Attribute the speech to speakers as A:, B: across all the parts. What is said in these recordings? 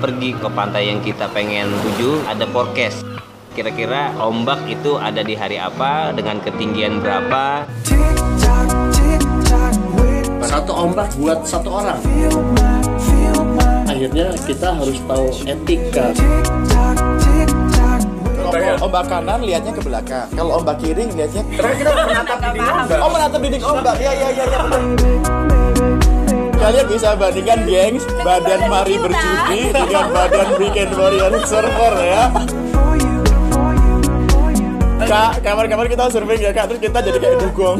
A: pergi ke pantai yang kita pengen tuju ada forecast kira-kira ombak itu ada di hari apa dengan ketinggian berapa
B: satu ombak buat satu orang akhirnya kita harus tahu etika
C: Kalau ombak kanan lihatnya ke belakang. Kalau ombak kiri lihatnya
D: Terus kita menatap dinding ombak.
C: Oh menatap dinding ombak. Ya ya ya ya. bener. Kalian bisa bandingkan gengs badan Mari bercuti dengan badan Weekend Warrior Surfer ya. Kak, kamar-kamar kita surfing ya kak, terus kita jadi kayak dugong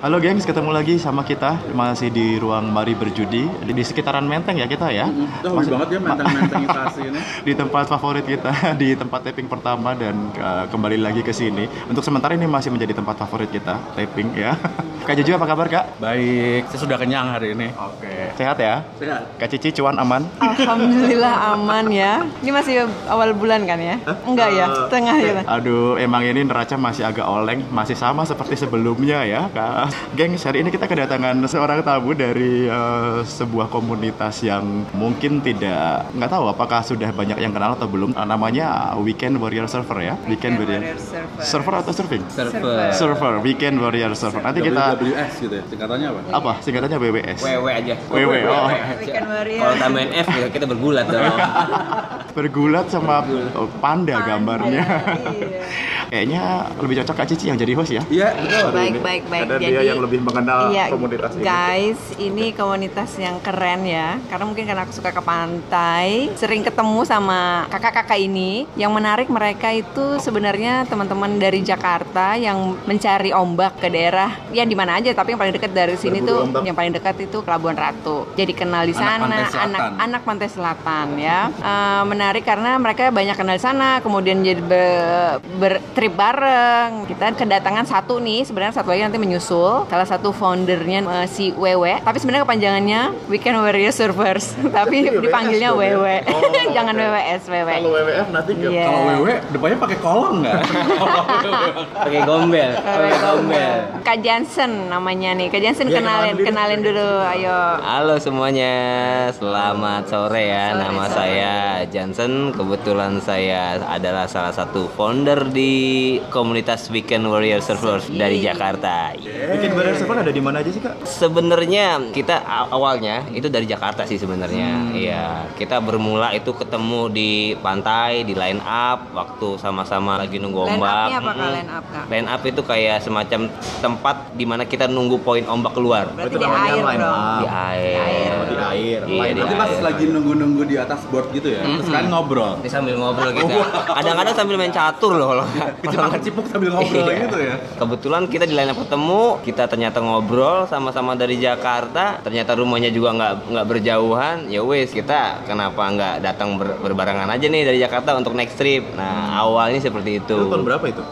C: Halo gengs, ketemu lagi sama kita Masih di ruang Mari Berjudi Di, di sekitaran Menteng ya kita ya
E: Udah hobi banget ya menteng-menteng itasi ini.
C: di tempat favorit kita di tempat taping pertama dan uh, kembali lagi ke sini untuk sementara ini masih menjadi tempat favorit kita taping ya kak Jojo apa kabar kak
E: Baik, saya sudah kenyang hari ini. Oke.
C: sehat ya
E: Sehat.
C: kak Cici cuan aman
F: Alhamdulillah aman ya. Ini masih awal bulan kan ya? Enggak ya,
C: Eh,
F: setengah bulan.
C: aduh emang ini neraca masih agak oleng masih sama seperti sebelumnya ya kak geng hari ini kita kedatangan seorang tamu dari uh, sebuah komunitas yang mungkin tidak nggak tahu apakah sudah banyak yang kenal atau belum Uh, namanya Weekend Warrior Server ya Weekend, Warrior,
F: Warrior Surfer.
C: Server atau surfing
A: server
C: Surfer, Weekend Warrior Surfer. Nanti kita
E: WWS gitu ya, singkatannya apa?
C: apa singkatannya WWS.
A: WW aja
C: WW, oh.
F: Weekend warrior.
A: kalau tambahin F ya kita bergulat dong
C: Bergulat sama oh, panda gambarnya.
F: Iya.
C: Kayaknya lebih cocok Kak Cici yang jadi host ya.
E: Iya, betul.
F: Baik, baik, baik.
C: Karena dia
F: Jadi-
C: yang lebih mengenal
F: Iya,
C: komunitas ini.
F: guys, ini komunitas yang keren ya. Karena mungkin karena aku suka ke pantai, sering ketemu sama kakak-kakak ini. Yang menarik mereka itu sebenarnya teman-teman dari Jakarta yang mencari ombak ke daerah ya di mana aja, tapi yang paling dekat dari sini
C: Berburu
F: tuh
C: ombak.
F: yang paling dekat itu Pelabuhan Ratu. Jadi kenal di
E: Anak
F: sana,
E: Pantai Selatan.
F: anak pantai selatan ya Eh, menarik karena mereka banyak kenal di sana kemudian jadi be- bertrip bareng kita kedatangan satu nih sebenarnya satu lagi nanti menyusul salah satu foundernya eh, si Wewe tapi sebenarnya kepanjangannya Weekend Warrior Surfers tapi
C: WWS
F: dipanggilnya
C: dong ya?
F: Wewe
C: Oh,
F: jangan
C: oke.
F: WWS Wewe
C: Kalau WWF nanti ke-
F: Iya.
E: Kalau WW, depannya pakai kolong nggak?
A: pakai gombel pakai gombel
F: Kak Jansen namanya nih Kak Jansen
E: Iya,
F: kenalin
E: kenalan diri.
F: kenalin dulu ayo
A: Halo semuanya, selamat sore ya.
F: Sore,
A: Nama
F: sore.
A: saya Johnson. Kebetulan saya adalah salah satu founder di komunitas Weekend Warrior Surfers dari Jakarta.
C: Weekend Warrior Server ada di mana aja sih Kak?
A: Sebenarnya kita a- awalnya itu dari Jakarta sih sebenarnya.
F: Hmm.
A: Iya, kita bermula itu ketemu di pantai, di line up waktu sama-sama lagi nunggu
F: Line
A: ombak.
F: up-nya apa, Kak?
A: Mm-mm.
F: Line up, Kak?
A: Line up itu kayak semacam tempat di mana kita nunggu poin ombak keluar.
F: berarti
C: Itu
F: di
C: namanya
F: Iya, air
C: line
F: dong
C: up.
G: Iya.
A: Di air.
C: Oh, di air.
A: Iya,
C: Line
A: di
C: up.
E: Nanti pas
A: air.
E: lagi nunggu-nunggu di atas board gitu ya, terus kalian ngobrol.
A: Ini sambil ngobrol
F: Oh,
A: kita. Kadang-kadang sambil main catur loh kalau
E: Kecipak-kecipuk sambil ngobrol
A: Iya.
E: gitu ya.
A: Kebetulan kita di line up ketemu, kita ternyata ngobrol sama-sama dari Jakarta. Ternyata rumahnya juga nggak nggak berjauhan. Ya wes kita kenapa nggak datang ber- berbarengan aja nih dari Jakarta untuk next trip. Nah awalnya seperti itu.
C: Itu tahun berapa itu?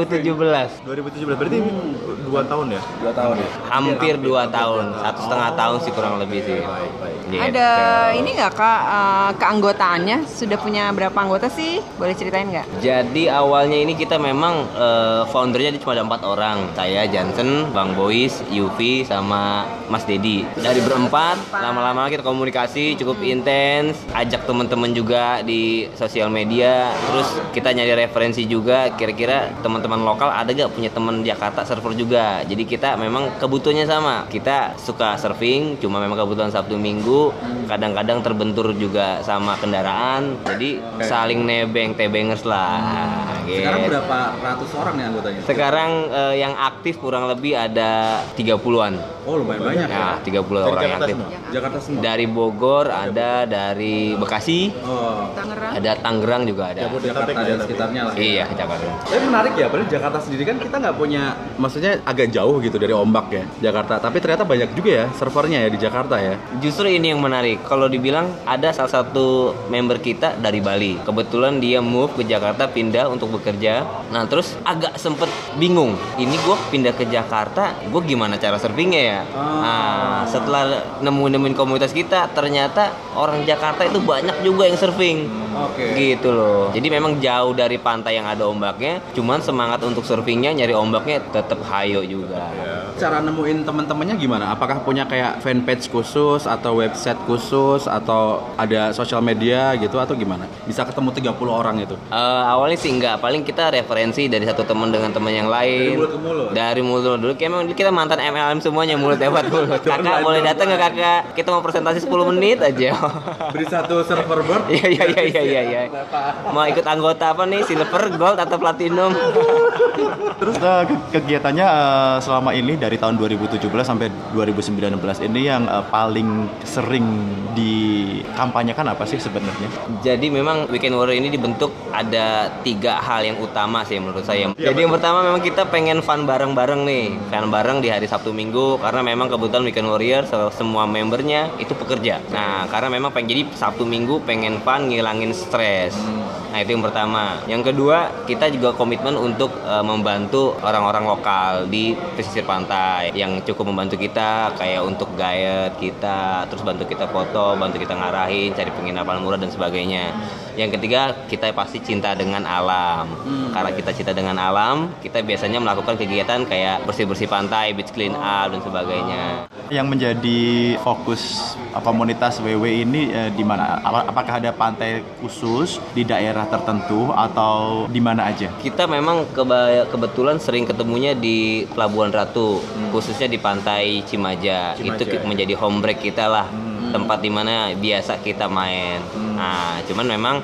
A: 2017
C: 2017 berarti
E: Hmm.
C: 2 tahun ya?
E: Dua tahun ya.
A: hampir 2 tahun satu setengah tahun sih kurang lebih sih Gitu.
F: Ada ini nggak kak eh, keanggotaannya? Sudah punya berapa anggota sih? Boleh ceritain nggak?
A: Jadi awalnya ini kita memang eh, foundernya cuma ada empat orang. Saya Jansen, Bang Bois, Yufi, sama Mas Dedi. Dari berempat, lama-lama kita komunikasi cukup intens, ajak teman-teman juga di sosial media. Terus kita nyari referensi juga. Kira-kira teman-teman lokal ada gak punya teman Jakarta server juga. Jadi kita memang kebutuhannya sama. Kita suka surfing, cuma memang kebutuhan Sabtu Minggu. Kadang-kadang terbentur juga sama kendaraan. Jadi saling nebeng tebengers lah gitu.
E: Hmm. Sekarang berapa ratus orang nih anggotanya?
A: sekarang eh, yang aktif kurang lebih ada 30-an
E: Oh lumayan banyak ya.
A: nah 30 orang yang aktif
E: Jakarta semua.
A: dari Bogor ada dari Bekasi
E: Oh,
F: Tangerang.
A: ada Tangerang juga ada
E: Jakarta dan sekitarnya lah.
A: iya Jakarta
E: Tapi menarik ya, padahal Jakarta sendiri kan kita nggak punya, maksudnya agak jauh gitu dari ombak ya Jakarta. Tapi ternyata banyak juga ya servernya ya di Jakarta ya.
A: Justru ini yang menarik. Kalau dibilang ada salah satu member kita dari Bali. Kebetulan dia move ke Jakarta pindah untuk bekerja. Nah terus agak sempet bingung. Ini gue pindah ke Jakarta, gue gimana cara surfingnya ya? ya. Nah, setelah nemu-nemuin komunitas kita, ternyata orang Jakarta itu banyak juga yang surfing.
E: Oke.
A: Gitu loh. Jadi memang jauh dari pantai yang ada ombaknya, cuman semangat untuk surfingnya nyari ombaknya tetap hayo juga.
E: Cara nemuin teman-temannya gimana? Apakah punya kayak fanpage khusus atau website khusus atau ada sosial media gitu atau gimana? Bisa ketemu 30 orang itu.
A: Eh, awalnya sih enggak, paling kita referensi dari satu teman dengan teman yang lain. Dari mulut
E: ke mulut?
A: Dari mulut ke mulut. Dulu kayak emang kita mantan MLM semuanya mulut lewat mulut. Kakak boleh datang nggak kakak? Kita mau presentasi 10 menit aja.
E: Beri satu server bird.
A: Iya iya iya iya iya. iya. Mau ikut anggota apa nih? Silver, gold atau platinum?
C: Terus eh, ke- kegiatannya eh, selama ini dari tahun 2017 sampai 2019 ini yang eh, paling sering dikampanyekan apa sih sebenarnya?
A: Jadi memang Weekend Warrior ini dibentuk ada tiga hal yang utama sih menurut saya. Jadi yang pertama memang kita pengen fun bareng-bareng nih, fun bareng di hari Sabtu Minggu karena memang kebetulan Weekend Warrior se- semua membernya itu pekerja. Nah karena memang pengen jadi Sabtu Minggu pengen fun ngilangin stres. Nah itu yang pertama. Yang kedua kita juga komitmen untuk eh, membantu orang-orang lokal di pesisir pantai yang cukup membantu kita kayak untuk diet kita, terus bantu kita foto, bantu kita ngarahin, cari penginapan murah dan sebagainya. Yang ketiga kita pasti cinta dengan alam. Karena kita cinta dengan alam, kita biasanya melakukan kegiatan kayak bersih bersih pantai, beach clean up dan sebagainya.
C: Yang menjadi fokus eh, komunitas WW ini eh, di mana? Apa- Apakah ada pantai khusus di daerah tertentu atau di mana aja?
A: kita memang keba- kebetulan sering ketemunya di Pelabuhan Ratu, khususnya di pantai Hmm. Cimaja. ya. Hmm. itu ki- menjadi home break kita lah, tempat dimana biasa kita main. Nah, cuman memang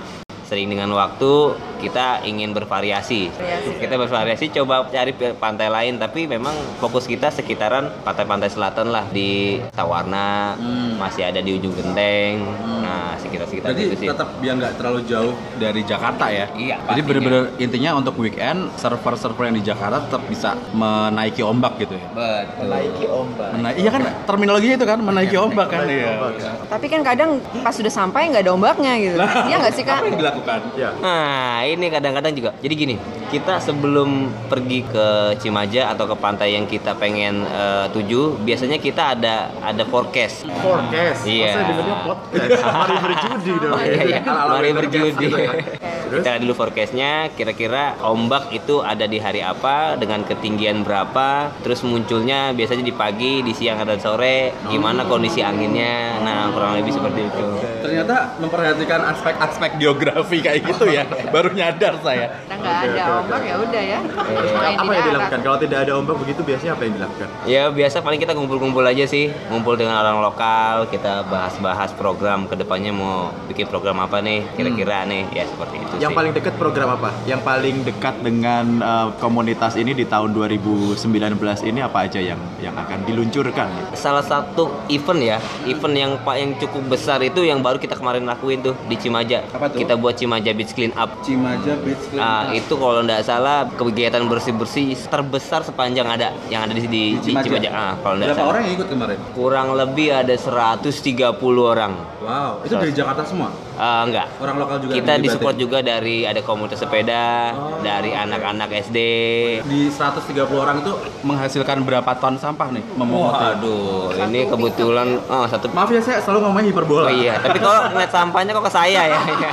A: sering dengan waktu kita ingin bervariasi. ya. Kita bervariasi coba cari pe- pantai lain, tapi memang fokus kita sekitaran pantai-pantai selatan lah di Sawarna, masih ada di ujung Genteng. Nah, sekitar-sekitar
E: Berarti
A: itu sih.
E: tetap dia nggak terlalu jauh dari Jakarta ya.
A: Iya,
E: Jadi
A: pastinya.
E: bener-bener intinya untuk weekend server-server yang di Jakarta tetap bisa menaiki ombak gitu ya.
A: Betul.
E: Mena- iya kan terminologinya itu kan menaiki ombak kan. Iya.
F: Tapi kan kadang pas sudah sampai nggak ada ombaknya gitu. Iya nggak sih kak?
E: Apa yang dilakukan?
A: Nah, ini kadang-kadang juga. Jadi gini, kita sebelum pergi ke Cimaja atau ke pantai yang kita pengen eh, tuju, biasanya kita ada ada forecast.
C: Forecast.
A: Iya. Saya dengarnya
C: podcast. Mari berjudi dong.
A: Iya, iya.
E: Ala-ala
A: Mari
E: weather gas
A: berjudi.
E: gitu ya.
A: kita lihat dulu forecastnya, kira-kira ombak itu ada di hari apa, dengan ketinggian berapa, terus munculnya biasanya di pagi, di siang dan sore, gimana kondisi anginnya. Nah, kurang lebih seperti itu.
E: Ternyata memperhatikan aspek-aspek geografi kayak gitu ya. Baru nyadar saya.
F: Kita nggak ada ombak ya udah ya. Main di
G: apa yang
F: darat.
G: dilakukan kalau tidak ada ombak begitu biasanya apa yang dilakukan
A: Ya biasa paling kita kumpul-kumpul aja sih, ngumpul dengan orang lokal, kita bahas-bahas program kedepannya mau bikin program apa nih,
E: Hmm.
A: kira-kira nih, ya seperti itu
G: yang
A: sih.
G: paling dekat program apa
C: Yang paling dekat dengan eh, komunitas ini di tahun 2019 ini apa aja yang yang akan diluncurkan?
A: Salah satu event ya, event yang pak yang cukup besar itu yang baru kita kemarin lakuin tuh di Cimaja.
E: Apa tuh?
A: Kita buat Cimaja Beach Clean Up.
E: Cimaja Beach
A: Ah, itu kalau nggak salah kegiatan bersih-bersih terbesar sepanjang ada yang ada di, di, di Cimaja. Ah, kalau nggak
E: Berapa
A: salah.
E: orang yang ikut kemarin?
A: Kurang lebih ada 130 orang.
E: Wow, itu dari Jakarta semua?
A: Ah, enggak.
E: Orang lokal juga
A: kita
E: yang
A: disupport
E: dilibatin?
A: juga dari ada komunitas sepeda, dari anak-anak SD.
E: Di 130 orang itu menghasilkan berapa ton sampah nih? Memungut.
A: Waduh, ini kebetulan oh satu
E: Maaf ya saya selalu ngomongnya hiperbola.
A: Oh iya, tapi kalau ngeliat sampahnya kok ke saya ya. ya.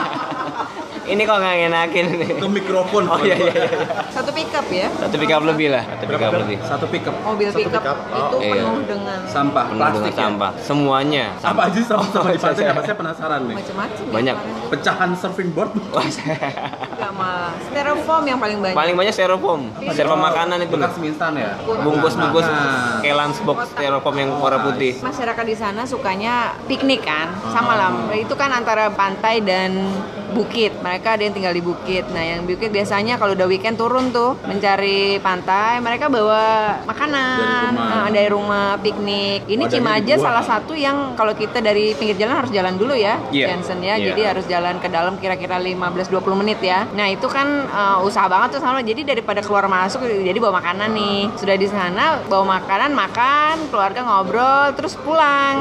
A: ini kok nggak ngenakin ini.
E: Ke mikrofon.
A: Oh iya iya. iya.
F: Satu pickup ya.
A: Satu pick up lebih lah, satu pick up lebih.
E: Satu pickup
F: Mobil pickup itu
A: iya.
F: penuh dengan
E: sampah
A: Penuh dengan
E: plastik ya?
A: sampah. Semuanya
E: Apa
A: sampah.
E: aja sampah-sampah di pantai? Apa saya penasaran nih?
F: macam-macam. ya
A: Banyak.
F: kemarin.
E: Pecahan surfing board.
A: Wah, saya-
F: Enggak malah. Styrofoam yang paling banyak.
A: Paling banyak styrofoam, styrofoam makanan itu loh.
E: Bekas mie instan ya?
A: Bungkus-bungkus
E: Nah.
A: kayak lunchbox styrofoam yang warna putih.
F: Masyarakat di sana sukanya piknik kan, sama lah. Itu kan antara pantai dan bukit. Mereka ada yang tinggal di bukit. Nah, yang bukit biasanya kalau udah weekend turun tuh mencari pantai. Mereka bawa makanan
E: rumah.
F: Nah, dari rumah, piknik. Ini
E: Wadahnya
F: Cimaja
E: dibuat.
F: salah satu yang kalau kita dari pinggir jalan harus jalan dulu ya,
A: Iya.
F: Jansen ya.
A: Iya.
F: Jadi harus jalan ke dalam kira-kira 15-20 menit ya. Nah itu kan eh, usaha banget tuh sama. Jadi daripada keluar masuk, jadi bawa makanan nih. Sudah di sana bawa makanan, makan, keluarga ngobrol, terus pulang.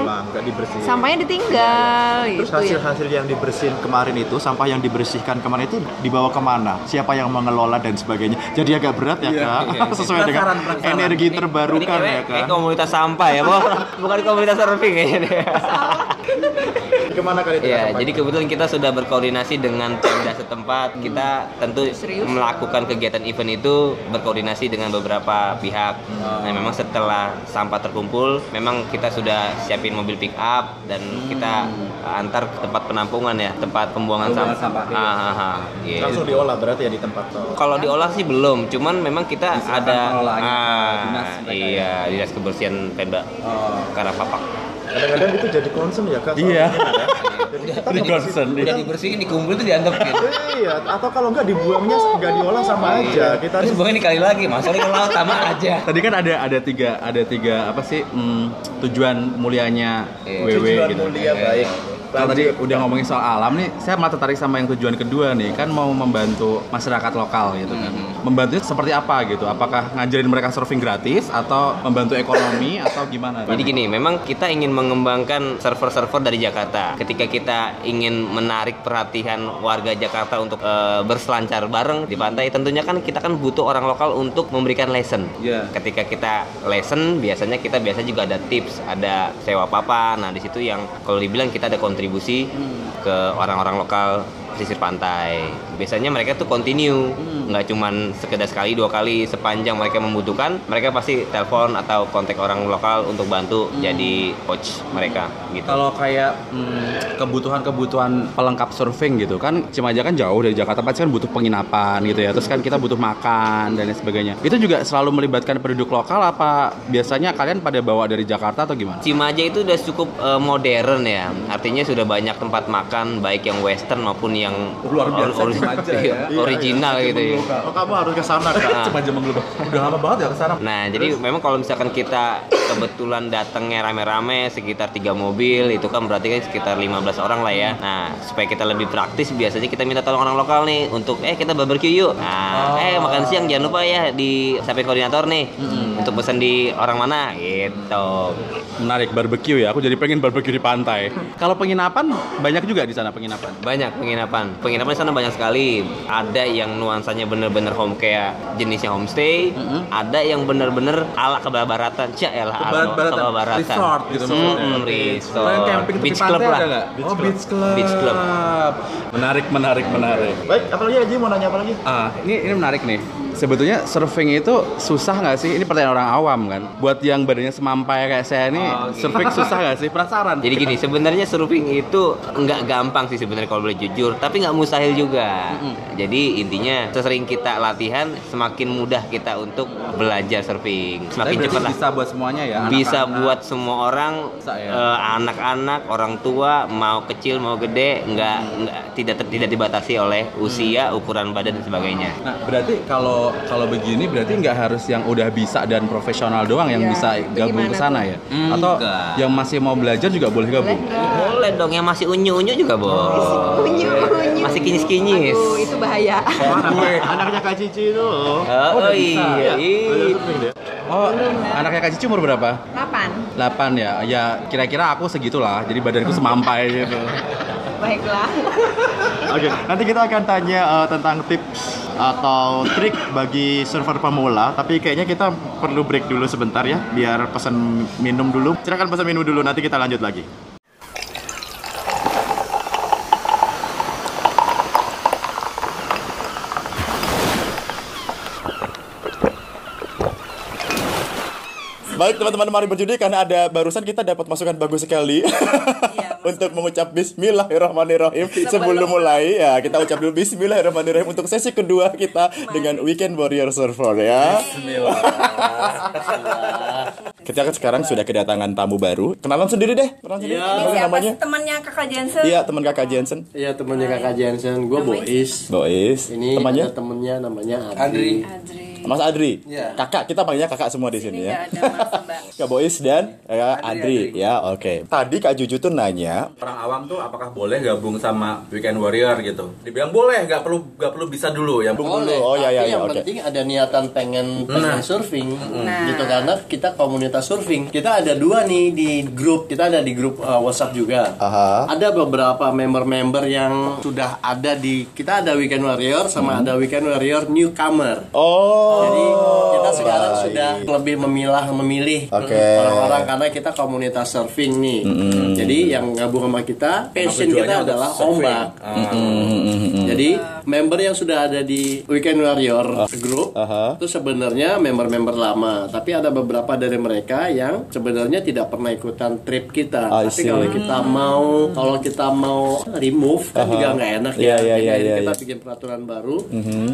G: Pulang, nggak dibersihin.
F: Sampainya ditinggal
G: Terus
F: gitu ya.
G: hasil-hasil yang dibersihin kemarin itu,
C: itu sampah yang dibersihkan kemarin itu dibawa kemana? Siapa yang mengelola dan sebagainya? Jadi agak berat ya kak, sesuai dengan
E: Penasaran, penasaran.
C: energi
A: Ini
C: terbarukan
A: kayak,
C: ya kak.
A: kayak komunitas sampah ya, Bo. bukan komunitas surfing ya. kayaknya deh.
G: kemana kali itu?
A: Ya, jadi kebetulan kita sudah berkoordinasi dengan Pemda
G: Hmm.
A: setempat. Kita tentu melakukan kegiatan event itu berkoordinasi dengan beberapa pihak.
G: Hmm.
A: Nah, memang setelah sampah terkumpul, memang kita sudah siapin mobil pick up dan kita
G: Hmm.
A: antar ke tempat penampungan ya, tempat pembuangan
E: Pembuangan
A: sampah.
E: sampah, iya.
A: Ah, ah, ah. Gitu.
G: langsung diolah berarti ya di tempat tol.
A: Kalau diolah sih belum, cuman memang kita
E: Diserahkan
A: ada
E: pengelolaannya ke
A: ah,
E: dinas mereka ya.
A: iya, dinas kebersihan Pemda
E: Oh.
A: karena papak.
G: Kadang-kadang itu jadi concern ya kak. soal
C: Iya.
G: ini ya.
C: Ini concern,
E: iya.
A: Udah dibersihin, dikumpulin tuh dianggapin.
G: Iya, atau kalau nggak dibuangnya nggak diolah sama aja. Kita
A: Terus
G: harus
A: buangin kali lagi, masuknya ke laut sama aja.
E: Tadi kan ada ada tiga ada tiga apa sih hmm, tujuan mulianya
A: Iya.
E: WW
G: tujuan
E: gitu.
G: mulia baik.
E: Kalau tadi
G: Lanjut.
E: udah ngomongin soal alam nih, saya mata tertarik sama yang tujuan kedua nih, kan mau membantu masyarakat lokal gitu kan.
A: Mm-hmm.
E: Membantunya seperti apa gitu? Apakah ngajarin mereka surfing gratis atau membantu ekonomi atau gimana?
A: Jadi gini, memang kita ingin mengembangkan server-server dari Jakarta. Ketika kita ingin menarik perhatian warga Jakarta untuk eh, berselancar bareng di pantai, tentunya kan kita kan butuh orang lokal untuk memberikan lesson.
E: Iya.
A: Ketika kita lesson, biasanya kita biasa juga ada tips, ada sewa papan. Nah, di situ yang kalau dibilang kita ada kontribusi ke orang-orang lokal pesisir pantai. Biasanya mereka tuh continue,
E: Hmm.
A: nggak cuman sekedar sekali dua kali sepanjang mereka membutuhkan, mereka pasti telepon atau kontak orang lokal untuk bantu jadi coach mereka gitu.
E: Hmm. Kalau kayak hmm, kebutuhan-kebutuhan pelengkap surfing gitu kan Cimaja kan jauh dari Jakarta pasti kan butuh penginapan gitu ya Terus kan kita butuh makan dan lain sebagainya Itu juga selalu melibatkan penduduk lokal apa biasanya kalian pada bawa dari Jakarta atau gimana?
A: Cimaja itu udah cukup eh, modern ya, artinya sudah banyak tempat makan baik yang western maupun yang
E: Luar biasa
A: ori-
E: Cimaja ya. Iya,
A: iya, original gitu ya.
G: Oh, kamu harus ke sana kak.
A: Ah.
E: Cimaja menggelubah Udah lama banget ya kesana
A: Nah, jadi memang kalau misalkan kita kebetulan datangnya rame-rame sekitar tiga mobil, itu kan berarti kan sekitar 15 orang lah ya. Nah, supaya kita lebih praktis, biasanya kita minta tolong orang lokal nih untuk eh kita barbecue yuk. Nah, eh makan siang jangan lupa ya di sampai koordinator nih untuk pesan di orang mana gitu.
E: Menarik barbecue ya, aku jadi pengen barbecue di pantai. Kalau penginapan banyak juga di sana penginapan.
A: Banyak penginapan. Penginapan di sana banyak sekali. Ada yang nuansanya bener-bener home kayak jenisnya homestay,
E: Mm-hmm.
A: ada yang bener-bener ala kebabaratan. Cak ya ala
E: Kebarat-baratan,
A: kebabaratan.
E: resort gitu maksudnya.
A: Mm-mm, kan. hmm, resort.
E: Kalau yang camping tepi
A: beach
E: pantai
A: club lah.
E: ada nggak? Oh, beach club.
A: Beach club.
E: Menarik, menarik, menarik.
G: Baik, apa lagi Aji mau nanya apa lagi?
E: Ah, ini ini menarik nih. Sebetulnya surfing itu susah nggak sih? Ini pertanyaan orang awam kan. Buat yang badannya semampai kayak saya ini, surfing susah nggak sih? Penasaran.
A: Oh, iya. Jadi gini, sebenarnya surfing itu nggak gampang sih sebenarnya kalau boleh jujur, tapi nggak mustahil juga. Jadi intinya, sesering kita latihan, semakin mudah kita untuk belajar surfing,
E: Tapi
A: semakin
E: berarti
A: cepat lah.
E: bisa buat semuanya ya.
A: bisa
E: anak-anak.
A: buat semua orang
E: Bisa ya?
A: eh, anak-anak orang tua mau kecil mau gede nggak nggak tidak ter- tidak dibatasi oleh usia ukuran badan dan sebagainya
E: Nah, berarti kalau kalau begini berarti nggak harus yang udah bisa dan profesional doang yang
F: Iya,
E: bisa
F: itu
E: gabung
F: gimana
E: ke sana
F: tuh?
E: ya? Atau
A: Enggak.
E: yang masih mau belajar juga boleh gabung?
A: boleh dong yang masih unyu unyu juga boleh
F: Unyu, unyu.
A: Masih kinyis-kinyis.
F: Aduh, itu bahaya.
G: Anaknya Kak Cici itu. loh.
A: oh, oh iya, iya.
E: Oh, anaknya Kak Cici umur berapa?
F: Kapan?
E: 8 ya. Ya kira-kira aku segitulah. Jadi badanku semampai gitu.
F: Baiklah.
C: Oke, nanti kita akan tanya eh, tentang tips atau trik bagi server pemula. Tapi kayaknya kita perlu break dulu sebentar ya, biar pesan minum dulu. Silakan pesan minum dulu, nanti kita lanjut lagi. Baik teman-teman mari berjudi karena ada barusan kita dapat masukan bagus sekali
D: Iya,
C: untuk mengucap Bismillahirrahmanirrahim sebelum
D: Sebelum-
C: mulai ya kita ucap dulu Bismillahirrahmanirrahim untuk sesi kedua kita dengan Weekend Warrior Server ya. kita kan sekarang sudah kedatangan tamu baru. Kenalan sendiri deh. Kenalan sendiri.
D: Ini
C: Apa
D: siapa
C: namanya?
D: sih temannya kakak Jensen?
C: Iya teman kakak Jensen.
B: Iya temennya kakak Jensen, gue Bois.
C: Bois.
B: Ini
C: temannya
B: ada temennya namanya Adri.
C: Adri.
H: Mas Adri.
I: Iya.
H: Kakak, kita panggilnya kakak semua di
D: Ini
H: sini ya.
D: nggak ada mas mbak.
H: Kak Bois dan ya,
I: Adri,
H: Adri, ya oke. Tadi Kak Juju tuh nanya,
E: Orang awam tuh apakah boleh gabung sama Weekend Warrior gitu? Dibilang boleh, nggak perlu nggak perlu bisa dulu yang
H: Bung dulu. Oh, ya,
B: tapi
H: ya, ya,
B: yang
H: oke.
B: penting ada niatan pengen, pengen surfing
D: Nah.
B: gitu karena kita komunitas surfing kita ada dua nih di grup kita ada di grup uh, WhatsApp juga
H: Aha.
B: ada beberapa member-member yang sudah ada di kita ada Weekend Warrior sama
H: Hmm.
B: ada Weekend Warrior newcomer
H: oh,
B: Jadi kita sekarang
H: baik.
B: sudah lebih memilah memilih
H: Oke. Hmm.
B: orang-orang karena kita komunitas surfing nih. Jadi yang gabung sama kita, passion
E: tujuannya
B: kita
E: untuk
B: adalah
E: surfing.
B: ombak.
H: Mm,
B: Jadi member yang sudah ada di Weekend Warrior group
H: Ah. aha.
B: itu sebenarnya member-member lama, tapi ada beberapa dari mereka yang sebenarnya tidak pernah ikutan trip kita.
H: Ah, I
B: tapi
H: see.
B: kalau kita mau kalau kita mau remove kan juga nggak enak
H: Iya, iya,
B: ya. Jadi
H: iya,
B: akhirnya
H: iya,
B: kita
H: iya. Mhm.
B: bikin peraturan baru.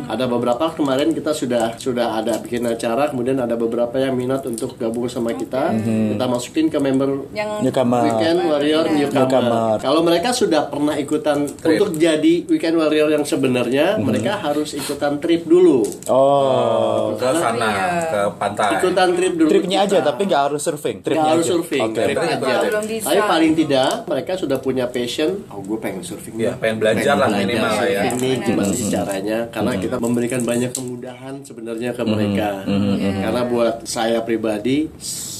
B: Ada beberapa kemarin kita sudah sudah ada bikin acara, kemudian ada beberapa yang minat untuk gabung sama kita.
H: Mhm.
B: Kita masukin ke member
F: Yang
H: newcomer.
B: Weekend Warrior
F: Iya.
B: Newcomer.
H: Newcomer.
B: Kalau mereka sudah pernah ikutan untuk jadi Weekend Warrior yang
H: Mhm.
B: sebenarnya, mereka harus ikutan trip dulu.
H: Oh,
E: ke sana ke pantai.
B: Ikutan trip dulu.
H: tripnya aja
B: kita.
H: tapi nggak harus surfing.
B: Nggak
H: Tripnya
B: harus
H: aja.
B: surfing.
H: Oke.
B: trip
E: Tripnya
B: aja.
E: aja.
F: Belum bisa.
B: Tapi paling tidak mereka sudah punya passion. Oh, gue pengen surfing.
E: Ya,
H: Iya.
B: nih.
E: pengen belajar lah minimal lah ya.
B: Ini gimana sih caranya? Karena kita memberikan banyak kemudahan sebenarnya ke mereka. Karena buat saya pribadi,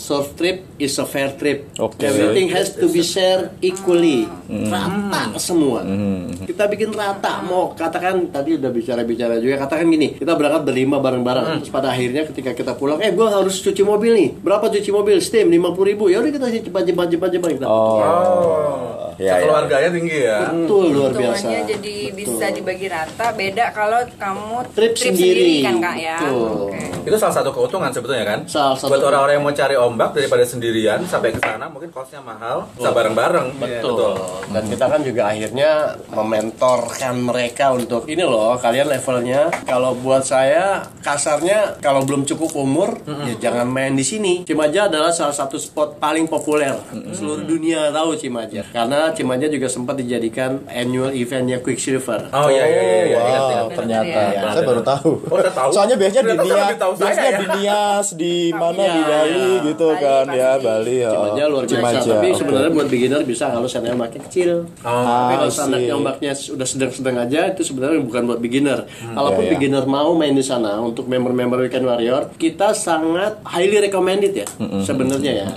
B: surf trip is a fair trip.
H: Oke.
B: Everything has to be shared equally, rata semua. Kita bikin rata. Mau katakan tadi udah bicara-bicara juga. Katakan gini, kita berangkat berlima bareng-bareng. Terus pada akhirnya ketika kita pulang, eh gue harus cuci mobil nih. Berapa cuci mobil? Steam 50 ribu. Ya udah kita cepat-cepat cepat-cepat kita.
E: Oh,
H: Ya, ya.
E: keluarganya tinggi ya.
B: Betul luar biasa.
F: Hitungannya jadi bisa dibagi rata. Beda kalau kamu
B: Trip sendiri.
F: kan kak ya.
B: Betul.
F: Oke.
E: Itu salah satu keuntungan sebetulnya kan.
B: Salah satu
E: Buat orang-orang yang mau cari ombak daripada sendirian sampai ke sana mungkin kosnya mahal, bisa bareng-bareng.
B: Betul. Dan kita kan juga akhirnya mementorkan mereka untuk ini loh, kalian levelnya kalau buat saya kasarnya kalau belum cukup umur ya jangan main di sini. Cimaja adalah salah satu spot paling populer seluruh dunia tahu Cimaja. Karena Cimaja juga sempat dijadikan annual eventnya Quicksilver.
E: Oh iya iya iya. iya.
H: wow,
E: Ingat, ingat.
H: ternyata.
F: Iya.
H: Saya baru tahu.
E: Oh, udah tahu?
H: Soalnya biasanya di
E: Ternyata
H: Nia,
E: lebih tahu saya,
H: biasanya
E: ya. Iya.
H: di Nias, di mana di Bali gitu
F: Bali,
H: kan ya,
F: pasti.
H: Bali. oh.
B: Cimaja luar biasa,
H: Cimaja,
B: tapi
H: oke.
B: sebenarnya buat beginner bisa kalau sandalnya makin kecil.
E: Oh.
B: Tapi
H: Ah,
B: kalau
H: I
B: standar
H: see.
B: ombaknya sudah sedang-sedang aja itu sebenarnya bukan buat beginner. Kalaupun
H: Iya, iya.
B: beginner mau main di sana untuk member-member Weekend Warrior, kita sangat highly recommended ya
H: Hmm,
B: sebenarnya ya.